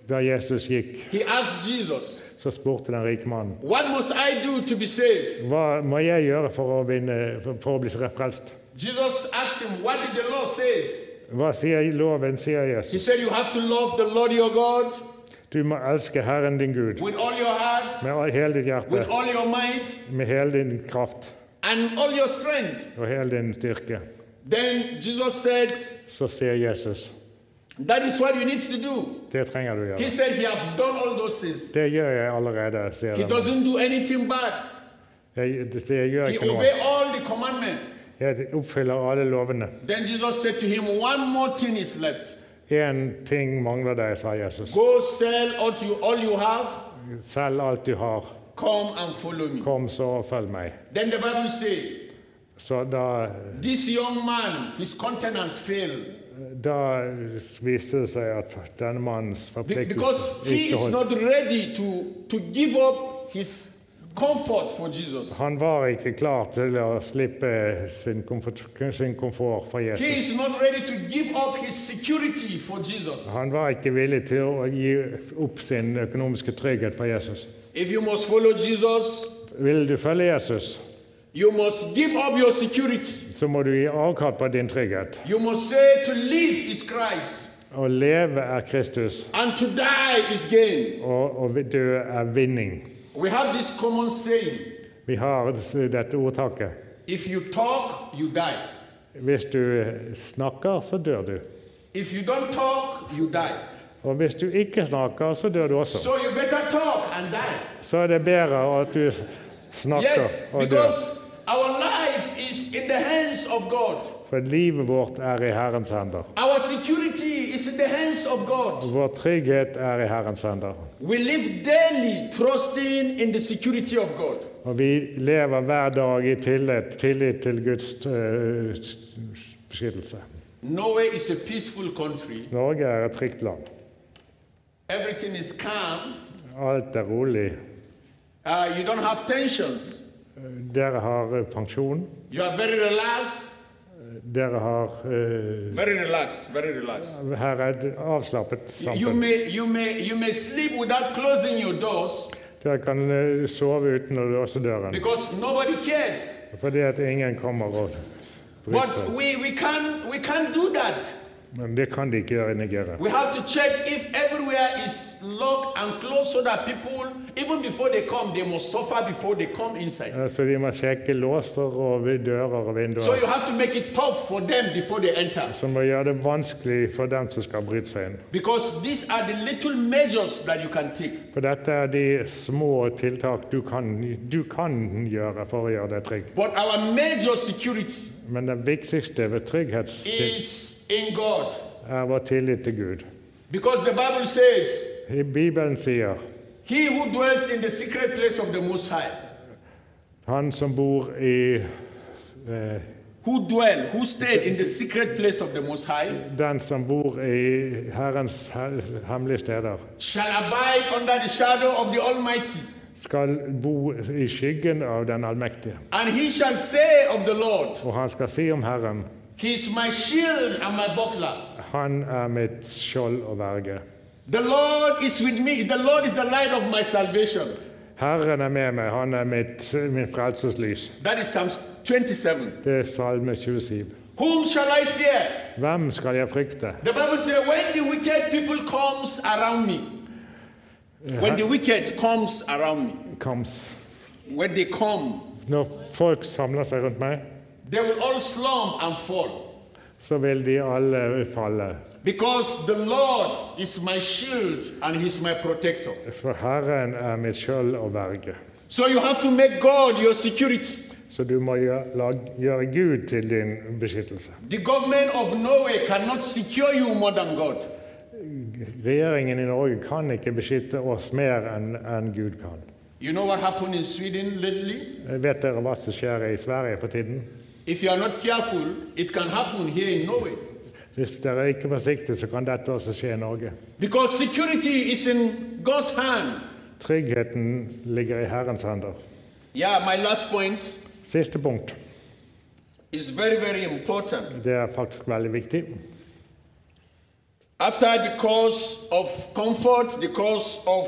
S3: da Jesus gikk,
S2: he asked Jesus,
S3: så spurte den rike mannen
S2: What must I do to be saved?
S3: Hva må jeg gjøre for å, vinne, for, for å bli frelst?
S2: Jesus asked him, What did the law says?
S3: Hva sier loven, sier
S2: He
S3: Jesus?
S2: said, You have to love the Lord your God
S3: Du må elske Herren din Gud
S2: with all your heart,
S3: med all- hele ditt hjerte,
S2: with all your might,
S3: med hele din kraft
S2: and all your strength.
S3: og hele din styrke.
S2: Then Jesus said,
S3: Så sier Jesus
S2: That is what you need to do.
S3: det trenger du
S2: He
S3: gjøre.
S2: said, He has done all those things.
S3: Det gjør jeg allerede, sier
S2: He
S3: han.
S2: doesn't do anything bad.
S3: Jeg, det, det gjør
S2: He
S3: jeg ikke noe.
S2: obeyed all the commandments.
S3: Jeg oppfyller alle lovene.
S2: Then Jesus said to him, One more thing is left.
S3: Én ting mangler deg, sa Jesus.
S2: Go sell all you, all you have
S3: Selg alt du har.
S2: Come and follow me.
S3: Kom, så følg meg.
S2: Then the Bible says,
S3: Så da,
S2: This young man, his countenance failed
S3: da viste det seg at denne mannens
S2: be- because
S3: forpliktelse
S2: he
S3: ikke
S2: is
S3: holdt.
S2: not ready to, to give up his comfort for Jesus.
S3: Han var ikke klar til å slippe sin komfort, sin komfort for
S2: He
S3: Jesus.
S2: is not ready to give up his security for Jesus.
S3: Han var ikke villig til å gi opp sin økonomiske trygghet for Jesus.
S2: If you must follow Jesus,
S3: Vil du følge Jesus,
S2: you must give up your security.
S3: så må du gi avkall på din trygghet.
S2: You must say to live is Christ
S3: Å leve er Kristus,
S2: and to die is gain.
S3: og å dø er vinning.
S2: We have this common saying
S3: Vi har dette ordtaket.
S2: if you talk, you die.
S3: Hvis du snakker, så dør du.
S2: If you don't talk, you die.
S3: Og hvis du ikke snakker, så dør du også.
S2: So you better talk and die.
S3: Så er det bedre at du snakker
S2: Yes,
S3: og dør.
S2: because our life is in the hands of God.
S3: For livet vårt er i Herrens hender.
S2: Our security is in the hands of God.
S3: Vår trygghet er i Herrens hender.
S2: We live daily trusting in the security of God.
S3: Og vi lever hver dag i tillit, tillit til Guds eh, beskyttelse.
S2: Norway is a peaceful country.
S3: Norge er et trygt land.
S2: Everything is calm.
S3: Alt er rolig.
S2: Uh, you don't have tensions.
S3: Dere har eh, pensjon.
S2: You are very relaxed.
S3: Dere har eh,
S2: Very relaxed. Very relaxed.
S3: Her er et avslappet
S2: You, you
S3: samfunn.
S2: may you may you may sleep without closing your doors
S3: Dere kan eh, sove uten å låse døren,
S2: because nobody cares.
S3: fordi at ingen kommer og
S2: But
S3: bryter.
S2: we, we can we can't do that.
S3: Men det kan de ikke gjøre i Nigeria.
S2: We have to check if everywhere is locked and closed so that people, even before they come, they must suffer before they come inside.
S3: Eh, Så de må sjekke låser og vi- dører og
S2: So
S3: vinduer.
S2: you have to make it tough for them before they enter.
S3: Som må gjøre det vanskelig for dem som skal bryte seg inn.
S2: Because these are the little measures that you can take.
S3: For dette er de små tiltak du kan, du kan gjøre for å gjøre deg trygg.
S2: But our major security
S3: Men det viktigste ved trygghet
S2: is in God.
S3: er vår tillit til Gud.
S2: Because the Bible says,
S3: I Bibelen sier
S2: He who dwells in the secret place of the Most High,
S3: han som bor i eh,
S2: who dwell, who stayed in the secret place of the Most High,
S3: Den som bor i Herrens he- hemmelige steder,
S2: shall abide under the shadow of the Almighty.
S3: skal bo i skyggen av den allmektige.
S2: And he shall say of the Lord,
S3: Og han skal si om Herren,
S2: He is my shield and my buckler.
S3: han er mitt skjold og verge.
S2: The Lord is with me. The Lord is the light of my salvation.
S3: Herren er med meg, han er mitt, min frelseslys.
S2: That is Psalm 27.
S3: Det er Salme 27.
S2: Whom shall I fear?
S3: Hvem skal jeg frykte?
S2: The Bible says, when the wicked people comes around me, when the wicked comes around me,
S3: Kams.
S2: when they come,
S3: Når folk samler seg rundt meg,
S2: they will all slump and fall.
S3: så vil de alle falle.
S2: Because the Lord is my shield and he's my protector.
S3: For Herren er mitt skjold og verge.
S2: So you have to make God your security.
S3: Så du må gjøre, la- gjøre Gud til din beskyttelse.
S2: The government of Norway cannot secure you more than God.
S3: Regjeringen i Norge kan ikke beskytte oss mer enn enn Gud kan.
S2: You know what happened in Sweden lately?
S3: Vet dere hva som skjer i Sverige for tiden?
S2: If you are not careful, it can happen here in Norway.
S3: Hvis dere ikke er forsiktige, så kan dette også skje i Norge.
S2: Because security is in God's hand.
S3: Tryggheten ligger i Herrens hender.
S2: Yeah, my last point
S3: Siste punkt.
S2: is very, very important.
S3: Det er faktisk veldig viktig.
S2: After the cause of comfort, the cause of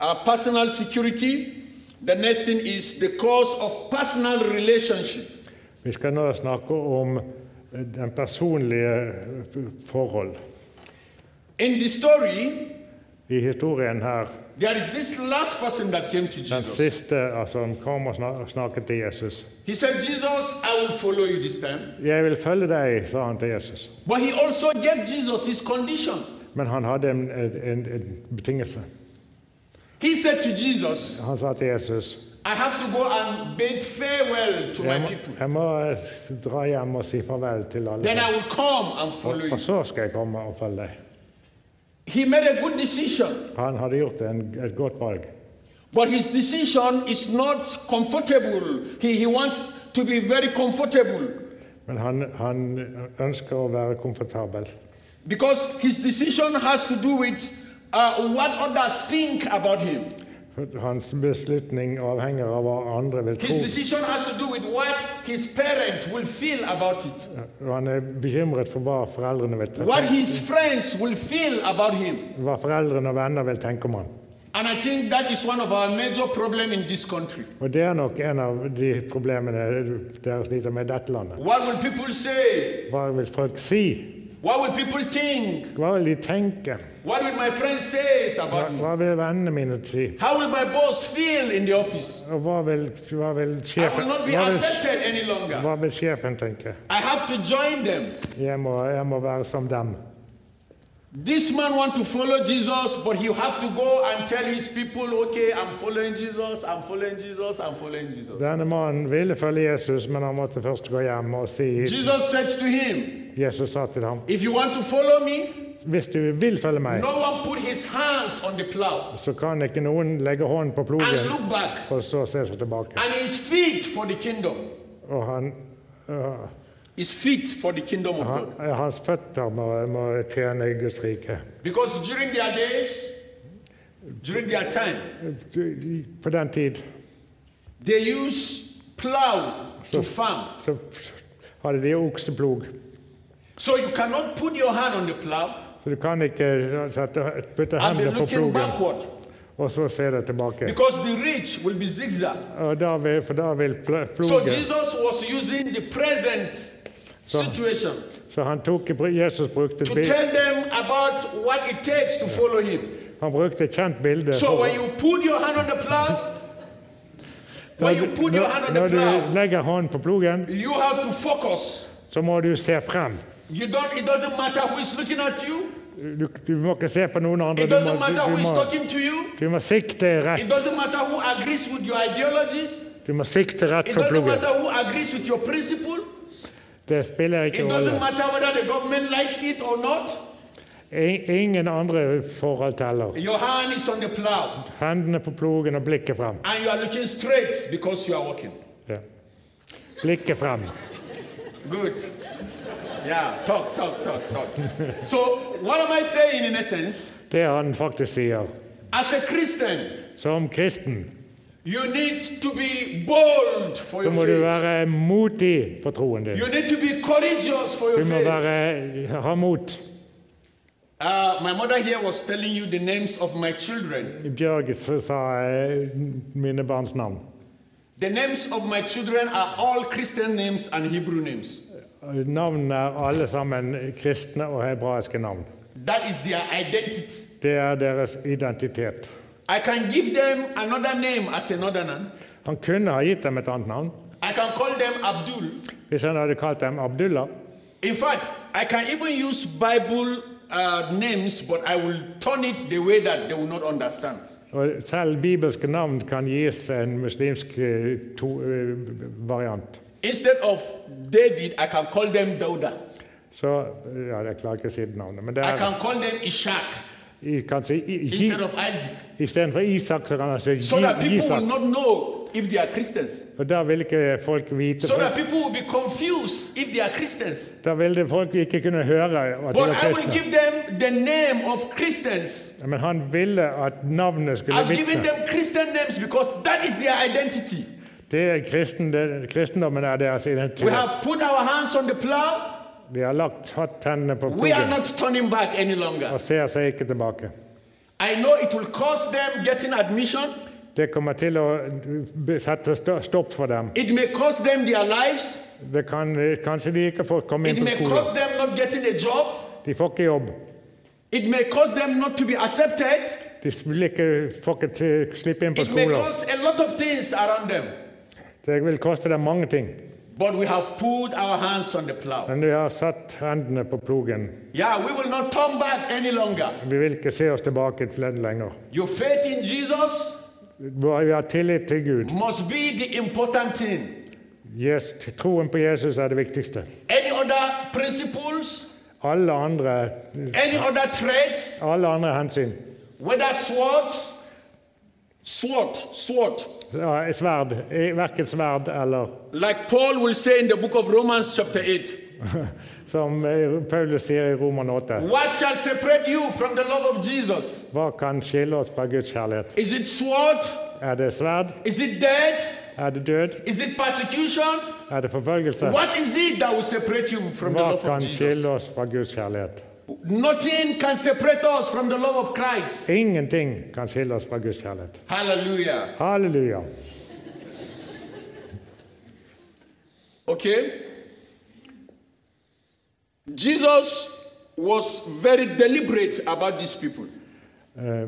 S2: uh, personal security, the next thing is the cause of personal relationship.
S3: Vi skal nå snakke om den personlige forhold.
S2: In the story,
S3: I historien her
S2: there is this last person that came to
S3: den
S2: Jesus.
S3: siste altså, han kom og snak- snakket til Jesus.
S2: He said, Jesus, I will follow you this time.
S3: 'Jeg vil følge deg', sa han til Jesus.
S2: But he also gave Jesus his condition.
S3: Men han hadde en, en, en betingelse.
S2: He said to Jesus,
S3: Han sa til Jesus
S2: I have to go and bid farewell to
S3: jeg
S2: my
S3: må,
S2: people.
S3: jeg må eh, dra hjem og si farvel til alle.
S2: Then I will come and
S3: Og,
S2: follow you.
S3: og så skal jeg komme og følge deg.
S2: He made a good decision.
S3: Han hadde gjort en, et godt valg.
S2: But his decision is not comfortable. He, he wants to be very comfortable
S3: Men han, han ønsker å være komfortabel.
S2: because his decision has to do with uh, what others think about him.
S3: For Hans beslutning avhenger av hva andre vil tro.
S2: His decision has to do with what his parent will feel about it,
S3: Og han er bekymret for hva foreldrene vil tenke,
S2: what his friends will feel about him.
S3: hva foreldrene og venner vil tenke om han.
S2: And I think that is one of our major problems in this country.
S3: Og det er nok en av de problemene dere sliter med i dette landet.
S2: What will people say?
S3: Hva vil folk si?
S2: What will people think?
S3: Hva vil de tenke?
S2: What will my friends say
S3: Hva,
S2: about me?
S3: hva vil vennene mine si?
S2: How will my boss feel in the office?
S3: Og hva vil, hva
S2: I
S3: vil,
S2: will
S3: sjefen,
S2: not be
S3: hva vil,
S2: accepted any longer.
S3: hva vil sjefen tenke?
S2: I have to join them.
S3: Jeg må, jeg må være som dem.
S2: This man want to follow Jesus, but he have to go and tell his people, okay, I'm following Jesus, I'm following Jesus, I'm following Jesus.
S3: Denne mannen ville følge Jesus, men han måtte først gå hjem og si
S2: Jesus said to him,
S3: Jesus sa til ham
S2: if you want to follow me,
S3: Hvis du vil følge meg,
S2: no one put his hands on the plow
S3: så kan ikke noen legge hånden på
S2: and
S3: plogen
S2: look back,
S3: og så se seg tilbake.
S2: and his feet for the kingdom.
S3: Og han, øh,
S2: His feet for the kingdom of
S3: han,
S2: God.
S3: hans føtter må, må tjene Guds rike.
S2: Because during their days, during their time,
S3: På den tid
S2: they use plow to farm.
S3: så hadde de okseplog.
S2: So you cannot put your hand on the plow
S3: Så du kan ikke sette, putte
S2: and be
S3: hendene på
S2: looking
S3: plogen
S2: backward.
S3: og så se deg tilbake.
S2: Because the reach will be zigzag.
S3: Og da vil, for da vil pl-
S2: So
S3: plogen
S2: Jesus was using the present situation
S3: Så han tok, Jesus brukte et
S2: to
S3: bilde.
S2: tell them about what it takes to follow him.
S3: Han brukte et kjent bilde.
S2: So
S3: for-
S2: when you put your hand on the plow, when you put your hand
S3: Når,
S2: on the
S3: når du
S2: plow,
S3: legger hånden på plogen,
S2: you have to focus.
S3: så må du se frem.
S2: You don't. It doesn't matter who is looking at you.
S3: Du, du må ikke se på noen andre.
S2: It
S3: Du må,
S2: doesn't matter
S3: du,
S2: who
S3: du
S2: is
S3: må,
S2: talking to you.
S3: du må sikte
S2: It
S3: rett.
S2: doesn't matter who agrees with your ideologies.
S3: Du må sikte rett
S2: It
S3: for
S2: doesn't
S3: plogen.
S2: matter who agrees with your principle.
S3: Det spiller
S2: It
S3: ikke
S2: doesn't
S3: rolle.
S2: matter whether the government likes it or not.
S3: I- Ingen andre forhold teller.
S2: Your hand is on the plow
S3: Hendene på plogen og blikket frem.
S2: and you are looking straight because you are walking.
S3: Ja. Blikket frem.
S2: Good. Yeah, talk, talk, talk, talk. so, what am I saying in essence?
S3: Det han faktisk sier.
S2: As a Christian,
S3: Som kristen
S2: you need to be bold for
S3: så
S2: your
S3: må du
S2: faith.
S3: være motig for troen din.
S2: You need to be courageous for your
S3: Du må
S2: faith.
S3: være, ha mot.
S2: Uh, my mother here was telling you the names of my children.
S3: Bjørg så sa eh, mine barns navn.
S2: The names of my children are all Christian names and Hebrew names.
S3: Navnene er alle sammen kristne og hebraiske navn.
S2: That is their identity.
S3: Det er deres identitet.
S2: I can give them another name as a northerner.
S3: Han kunne ha gitt dem et annet navn.
S2: I can call them Abdul.
S3: Hvis han hadde kalt dem Abdullah,
S2: In fact, I can even use Bible uh, names, but I will turn it the way that they will not understand.
S3: og selv bibelske navn kan gis en muslimsk eh, to, eh, variant.
S2: Instead of David, I can call them Dauda.
S3: Så eh, ja, Jeg klarer ikke å si det navnet. Men det
S2: I
S3: er,
S2: can call them Ishak
S3: jeg kan si I- I-
S2: instead of Isaac,
S3: Istedenfor Isak, så kan han si
S2: so that
S3: Gi-
S2: people will
S3: Isak.
S2: not know if they are Christians.
S3: Og Da vil ikke folk vite
S2: So that people will be confused if they are Christians.
S3: Da vil det folk ikke kunne høre at de
S2: But
S3: var
S2: I will
S3: kristne.
S2: give them the name of Christians.
S3: Men han ville at navnet skulle
S2: I've given
S3: vitne.
S2: them Christian names because that is their identity.
S3: Det er kristen, det, kristendommen er deres
S2: We
S3: identitet.
S2: have put our hands on the plow.
S3: De har lagt hatt tennene på
S2: We are
S3: plogen
S2: not turning back any longer.
S3: og ser seg ikke tilbake.
S2: I know it will cost them getting admission.
S3: Det kommer til å be- sette sto- stopp for dem.
S2: It may cost them their lives.
S3: Det kan, kanskje de ikke får komme
S2: It
S3: inn på
S2: may cost
S3: skolen.
S2: them not getting a job.
S3: De får ikke jobb.
S2: It may cost them not to be accepted.
S3: De vil ikke, får ikke til- slippe inn på
S2: It may
S3: skolen.
S2: cost a lot of things around them.
S3: Det vil koste dem mange ting.
S2: But we have put our hands on the plow.
S3: Men de har satt hendene på plogen.
S2: Yeah, we will not turn back any longer.
S3: Vi vil ikke se oss tilbake til den lenger.
S2: Your faith in Jesus
S3: Vi har tillit til Gud.
S2: must be the important thing.
S3: Yes, troen på Jesus er det viktigste.
S2: Any other principles,
S3: Alle andre,
S2: any other traits,
S3: alle andre hensyn,
S2: whether swords,
S4: sword, sword.
S3: Ja, sverd, eh, Verken sverd eller
S4: Like Paul will say in the book of Romans, chapter 8,
S3: Som eh, Paulus sier i Roman 8
S2: What shall separate you from the love of Jesus?
S3: Hva kan skille oss fra Guds kjærlighet?
S2: Is it sword?
S3: Er det sverd?
S2: Is it death?
S3: Er det død?
S2: Is it persecution?
S3: Er det forfølgelse?
S2: What is it that will separate you from the
S3: Hva
S2: love of
S3: kan
S2: Jesus?
S3: skille oss fra Guds kjærlighet?
S2: Nothing can separate us from the love of Christ.
S3: Ingenting kan skille oss fra Guds kjærlighet.
S4: hallelujah.
S3: Halleluja.
S4: Okay? Jesus was very deliberate about these people.
S3: Eh,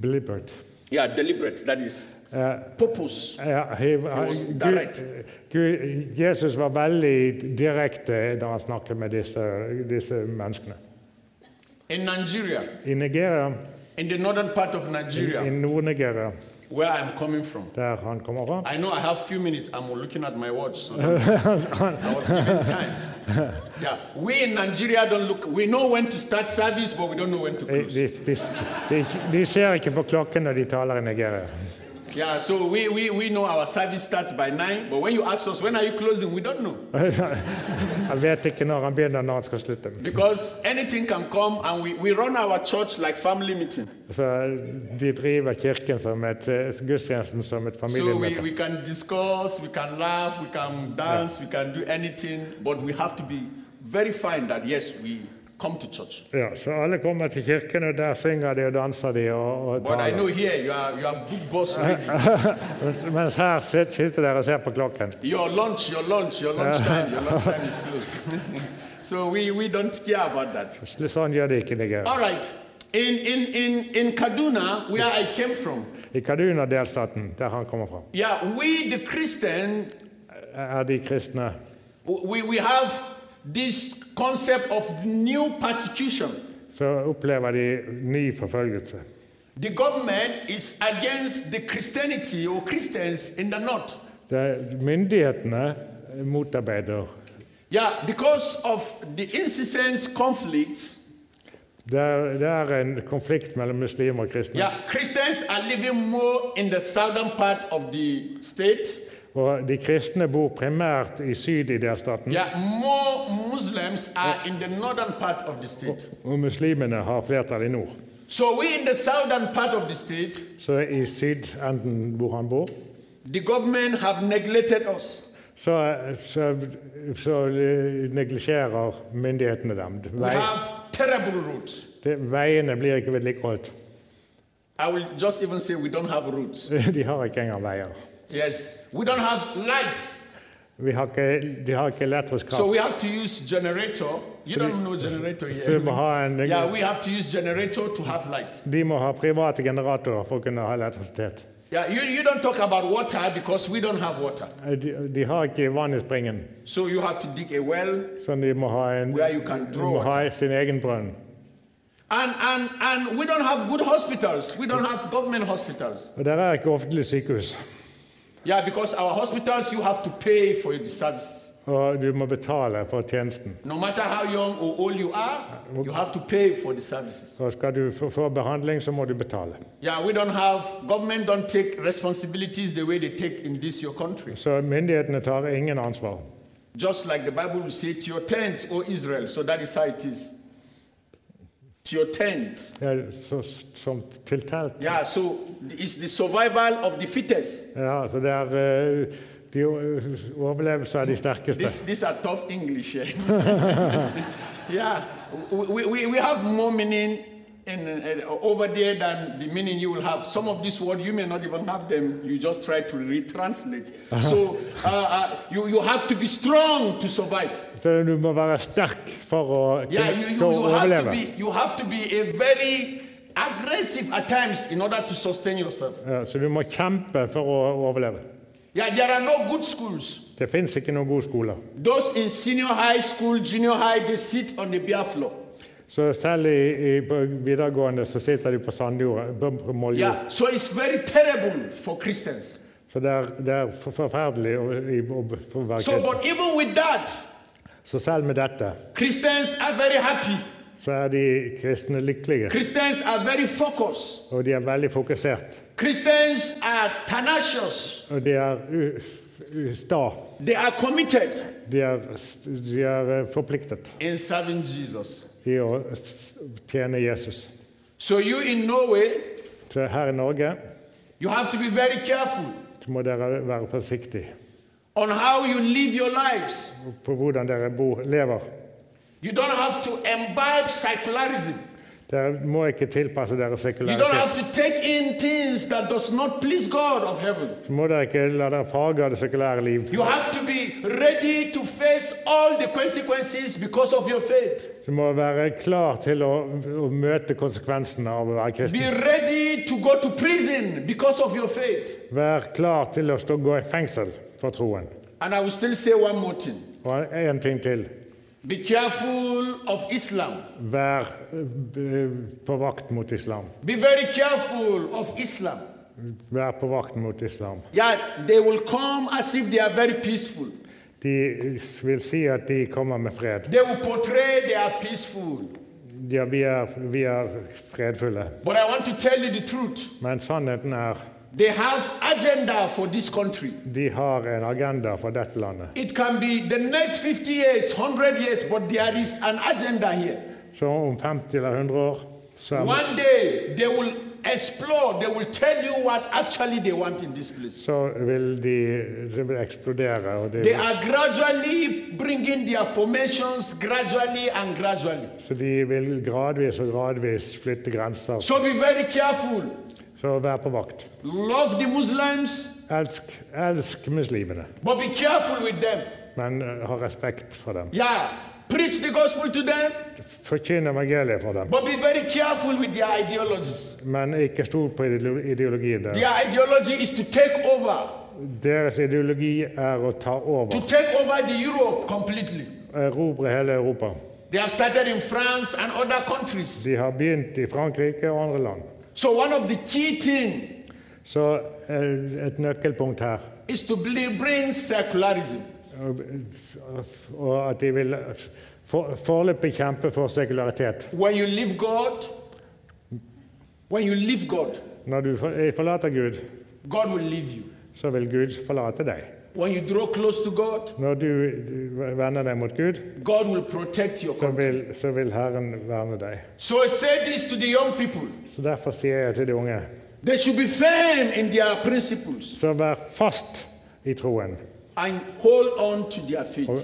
S3: Blibbert.
S4: Yeah, deliberate, that is purpose.
S3: Ja, he- han-
S4: was
S3: Gud-
S4: direct.
S3: Gud- Jesus var veldig direkte da han snakket med disse, disse menneskene.
S2: In Nigeria,
S3: I Nigeria,
S2: in the northern part of
S3: i
S2: Nigeria,
S3: Nord-Nigeria,
S2: where I'm coming from.
S3: der han kommer fra
S2: I know I have few minutes. I'm looking at my watch. So I was given time. Yeah, we in Nigeria don't look. We know when to start service, but we don't know when to
S3: eh, de,
S2: close.
S3: de, de, de, de ser ikke på klokken når de taler i Nigeria.
S2: Yeah, so we, we, we know our service starts by nine, but when you ask us when are you closing, we don't know
S3: Han vet ikke når han begynner, når han skal slutte.
S4: Because anything can come and we, we run our church like family meeting.
S3: Så de driver kirken som et eh, gudstjenesten som et
S2: So we,
S3: familiemøte.
S2: we can discuss, we can laugh, we can dance, we can do anything, but we have to be very fine that yes, we come to church.
S3: Ja, så alle kommer til kirken, og der synger de og danser de og, og
S2: But I know
S3: taler.
S2: here you are you have book bus already.
S3: Mens, mens her sit- sitter dere og ser på klokken.
S2: Your lunch, your lunch, your lunchtime, your lunchtime is closed. so we, we don't care about that.
S3: Sl- Sånn gjør de ikke i Nigeria.
S2: All right. In in in in Kaduna, where I came from,
S3: I Kaduna-delstaten, der han kommer fra,
S2: yeah, we the Christian
S3: er de kristne.
S2: we, we have this concept of new persecution.
S3: Så opplever de ny forfølgelse.
S2: The government is against the Christianity or Christians in the north.
S3: Det, myndighetene motarbeider.
S2: Yeah, because of the incessant conflicts,
S3: Det er, det er en konflikt mellom muslimer og kristne.
S2: yeah, Christians are living more in the southern part of the state.
S3: Og de kristne bor primært i syd i delstaten.
S2: Yeah, more Muslims are in the northern part of the state.
S3: Og muslimene har flertall i nord.
S2: So we in the southern part of the state,
S3: Så i sydenden hvor han bor,
S2: the government have neglected us.
S3: så, så, så neglisjerer myndighetene dem.
S2: We
S3: Vei,
S2: have terrible roads.
S3: det, veiene blir ikke vedlikeholdt.
S2: I will just even say we don't have roads.
S3: De har ikke engang veier.
S2: Yes, we don't have lights.
S3: Vi har ikke, de har ikke elektrisk
S2: So
S3: kraft.
S2: we have to use generator. You don't know generator
S3: Så vi må
S2: here.
S3: ha en,
S2: Yeah, we have to use generator to have light.
S3: de må ha private generatorer for å kunne ha elektrisitet.
S2: Yeah, you, you don't talk about water because we don't have water.
S3: De, de har ikke vann i springen,
S2: So you have to dig a well.
S3: så de må ha, en,
S2: Where you can
S3: de
S2: draw
S3: må ha sin egen brønn.
S2: And, and, and we don't have good hospitals. We don't have government hospitals.
S3: Og der er ikke offentlig sykehus.
S2: Yeah, because our hospitals, you have to pay for the service.
S3: Og du må betale for tjenesten.
S2: No matter how young or old you are, you have to pay for the services.
S3: Så skal du få- få behandling, så må du betale.
S2: Yeah, we don't have, government don't take responsibilities the way they take in this, your country.
S3: Så myndighetene tar ingen ansvar.
S2: Just like the Bible will say, to your tent, O Israel. So that is how it is.
S4: To your tent.
S3: Det er så, som til telt.
S4: Yeah, so it's the survival of the fittest.
S3: Ja, så det er eh, de o- overlevelse av de sterkeste.
S2: This, these are tough English. eh? yeah, we, we, we have more meaning in, uh, over there than the meaning you will have. Some of these words, you may not even have them. You just try to retranslate. so uh, uh, you, you have to be strong to survive.
S3: Så du må være sterk for å
S2: Yeah,
S3: kunne
S2: you, you,
S3: kunne
S2: you, have to
S3: overleve.
S2: be, you have to be a very aggressive at times in order to sustain yourself.
S3: Ja, så du må kjempe for å overleve.
S2: Yeah, there are no good schools.
S3: Det fins ikke noen gode skoler.
S2: Those in senior high school, junior high, they sit on the bare floor.
S3: Så selv i, i på videregående så sitter de på sandjord, på på måljord.
S2: Yeah, so it's very terrible for Christians.
S3: Så det er, det er for- forferdelig å, i, å få være
S2: So,
S3: kristen.
S2: but even with that,
S3: Så selv med dette
S2: Christians are very happy.
S3: så er de kristne lykkelige.
S2: Christians are very focused.
S3: Og de er veldig fokusert.
S2: Christians are tenacious,
S3: Og de er u- u- sta.
S2: they are committed
S3: De er, st- de er eh, forpliktet
S2: in serving Jesus.
S3: i å s- tjene Jesus.
S2: So, you in Norway,
S3: Så her i Norge
S2: you have to be very careful
S3: så må dere være forsiktige
S2: on how you live your lives.
S3: på hvordan dere bor, lever.
S2: You don't have to imbibe secularism.
S3: Dere må ikke tilpasse dere
S2: You don't have
S3: sekularitet.
S2: to take in things that does not please God of heaven.
S3: Så må dere ikke la dere farge av det sekulære liv.
S2: You have to be ready to face all the consequences because of your faith.
S3: Du må være klar til å, å møte konsekvensene av å være
S2: Be
S3: kristen.
S2: ready to go to prison because of your faith.
S3: Vær klar til å stå, gå i fengsel for troen.
S2: And I will still say one more thing.
S3: Og en ting til.
S2: Be careful of Islam.
S3: Vær eh, på vakt mot islam.
S2: Be very careful of Islam.
S3: Vær på vakt mot islam.
S2: Yeah, they will come as if they are very peaceful.
S3: De vil si at de kommer med fred.
S2: They will portray they are peaceful.
S3: Ja, vi er, vi er fredfulle.
S2: But I want to tell you the truth.
S3: Men sannheten er
S2: They have agenda for this country.
S3: de har en agenda for dette landet.
S2: It can be the next 50 years, 100 years, but there is an agenda here.
S3: Så om 50 eller 100 år så er,
S2: One day they will explore, they will tell you what actually they want in this place.
S3: så vil de det vil eksplodere. Og de,
S2: They are gradually bringing their formations gradually and gradually.
S3: så de vil gradvis og gradvis flytte grenser.
S2: So be very careful.
S3: Så vær på vakt.
S2: Love the Muslims,
S3: Elsk, elsk muslimene,
S2: but be careful with them.
S3: men eh, ha respekt for dem.
S2: Yeah, preach the gospel to them,
S3: Forkynn evangeliet for dem,
S2: but be very careful with their ideologies.
S3: men ikke stol på ideolo- ideologien deres.
S2: Their ideology is to take over,
S3: Deres ideologi er å ta
S2: to
S3: over,
S2: take over the Europe completely.
S3: erobre hele Europa.
S2: They have started in France and other countries.
S3: De har begynt i Frankrike og andre land.
S2: So one of the key things
S3: Så eh, et nøkkelpunkt her,
S2: is to bl- bring secularism.
S3: og og at de vil for- foreløpig kjempe for sekularitet.
S2: When you leave God, when you leave God,
S3: Når du for- eh, forlater Gud,
S2: God will leave you.
S3: så vil Gud forlate deg.
S2: When you draw close to God,
S3: Når du vender deg mot Gud,
S2: God will protect your
S3: så
S2: country.
S3: vil, så vil Herren verne deg.
S2: So I say this to the young people.
S3: Så derfor sier jeg til de unge,
S2: They should be firm in their principles
S3: så vær fast i troen,
S2: and hold on to their faith.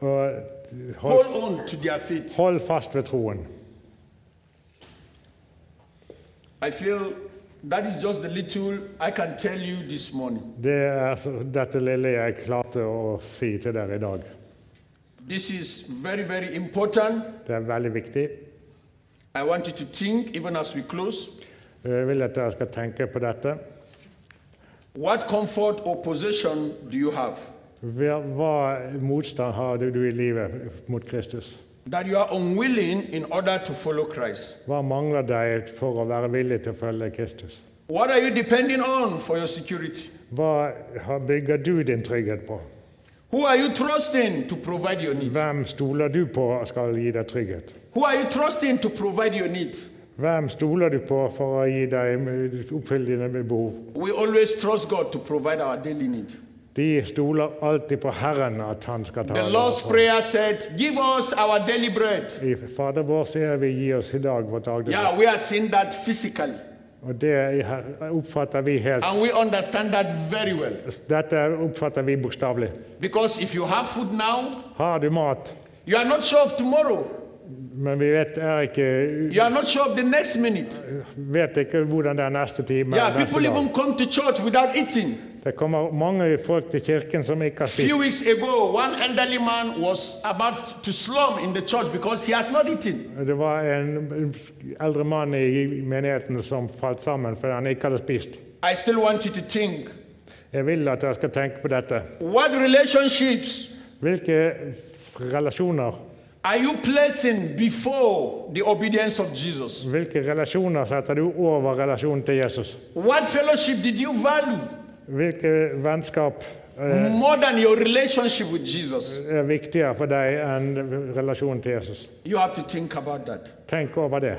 S3: og
S2: Hold
S3: hold,
S2: on to their faith.
S3: hold fast ved troen.
S2: I feel that is just the little I can tell you this morning.
S3: Det er så- dette lille jeg klarte å si til dere i dag.
S2: This is very, very important.
S3: Det er veldig viktig.
S2: I want you to think, even as we close,
S3: Jeg vil at dere skal tenke på dette.
S2: what comfort or possession do you have?
S3: Hva hva motstand har du du i livet mot Kristus?
S2: that you are unwilling in order to follow Christ.
S3: Hva mangler deg for å være villig til å følge Kristus?
S2: What are you depending on for your security?
S3: Hva har- bygger du din trygghet på?
S2: Who are you trusting to provide your needs?
S3: Hvem stoler du på skal gi deg trygghet?
S2: Who are you trusting to provide your needs?
S3: Hvem stoler du på for å gi deg oppfylle dine behov?
S2: We always trust God to provide our daily need.
S3: De stoler alltid på Herren at han skal ta
S2: The
S3: vare
S2: Lord's
S3: på
S2: Prayer said, Give us our daily bread.
S3: I Fader vår sier vi gi oss i dag vårt daglige
S2: Yeah, we are seeing that physically,
S3: Og det oppfatter vi helt
S2: and we understand that very well.
S3: Dette oppfatter vi bokstavelig.
S2: Because if you have food now,
S3: Har du mat,
S2: you are not sure of tomorrow,
S3: men vi vet, er ikke,
S2: you are not sure of the next minute.
S3: vet ikke hvordan det er neste time
S2: Yeah,
S3: neste
S2: people even
S3: dag.
S2: come to church without eating.
S3: Det kommer mange folk til kirken som ikke har
S2: few
S3: spist.
S2: weeks ago, one elderly man was about to slum in the church because he has not eaten.
S3: Det var en eldre mann i menigheten som falt sammen fordi han ikke hadde spist.
S2: I still want you to think
S3: Jeg vil at dere skal tenke på dette.
S2: what relationships
S3: Hvilke f- relasjoner,
S2: are you placing before the obedience of Jesus?
S3: hvilke relasjoner setter du over relasjonen til Jesus?
S2: What fellowship did you value
S3: Hvilke vennskap eh,
S2: more than your relationship with Jesus?
S3: er viktigere for deg enn relasjonen til Jesus.
S2: You have to think about that.
S3: Tenk over det,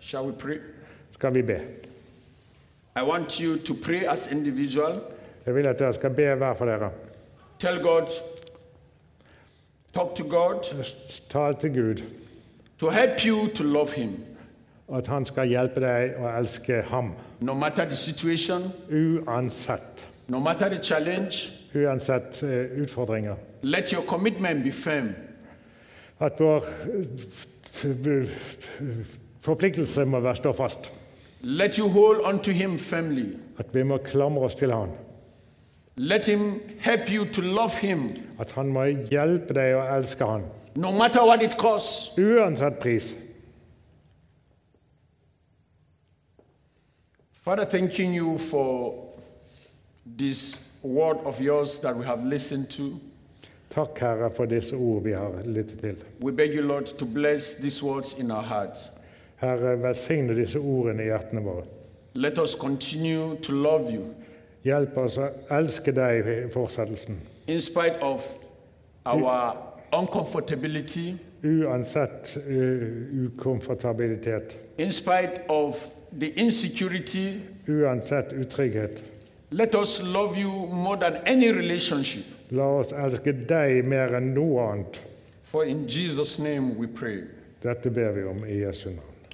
S2: Shall we pray?
S3: skal vi be.
S2: I want you to pray as individual.
S3: Jeg vil at dere skal be hver for dere.
S2: Tell God, talk to God
S3: Tal til Gud
S2: to help you to love Him,
S3: at han skal hjelpe deg å elske ham.
S2: no matter the situation,
S3: Uansett.
S2: no matter the challenge.
S3: Uansett eh, utfordringer.
S2: Let your commitment be firm.
S3: At vår eh, forpliktelse må være stå fast.
S2: Let you hold on to Him firmly.
S3: At vi må klamre oss til han.
S2: Let Him help you to love Him,
S3: At han må hjelpe deg å elske han.
S2: no matter what it costs.
S3: Uansett pris.
S2: Father, thanking you for this word of yours that we have listened to.
S3: Takk, Herre, for disse ord vi har lyttet til.
S2: We beg you, Lord, to bless these words in our hearts.
S3: Herre, velsigne disse ordene i hjertene våre.
S2: Let us continue to love you
S3: Hjelp oss å elske deg i fortsettelsen.
S2: in spite of our uncomfortability,
S3: Uansett eh, ukomfortabilitet.
S2: in spite of the insecurity.
S3: Uansett utrygghet.
S2: Let us love you more than any relationship.
S3: La oss elske deg mer enn noe annet.
S2: For in Jesus' name we pray.
S3: Dette ber vi om i Jesu navn.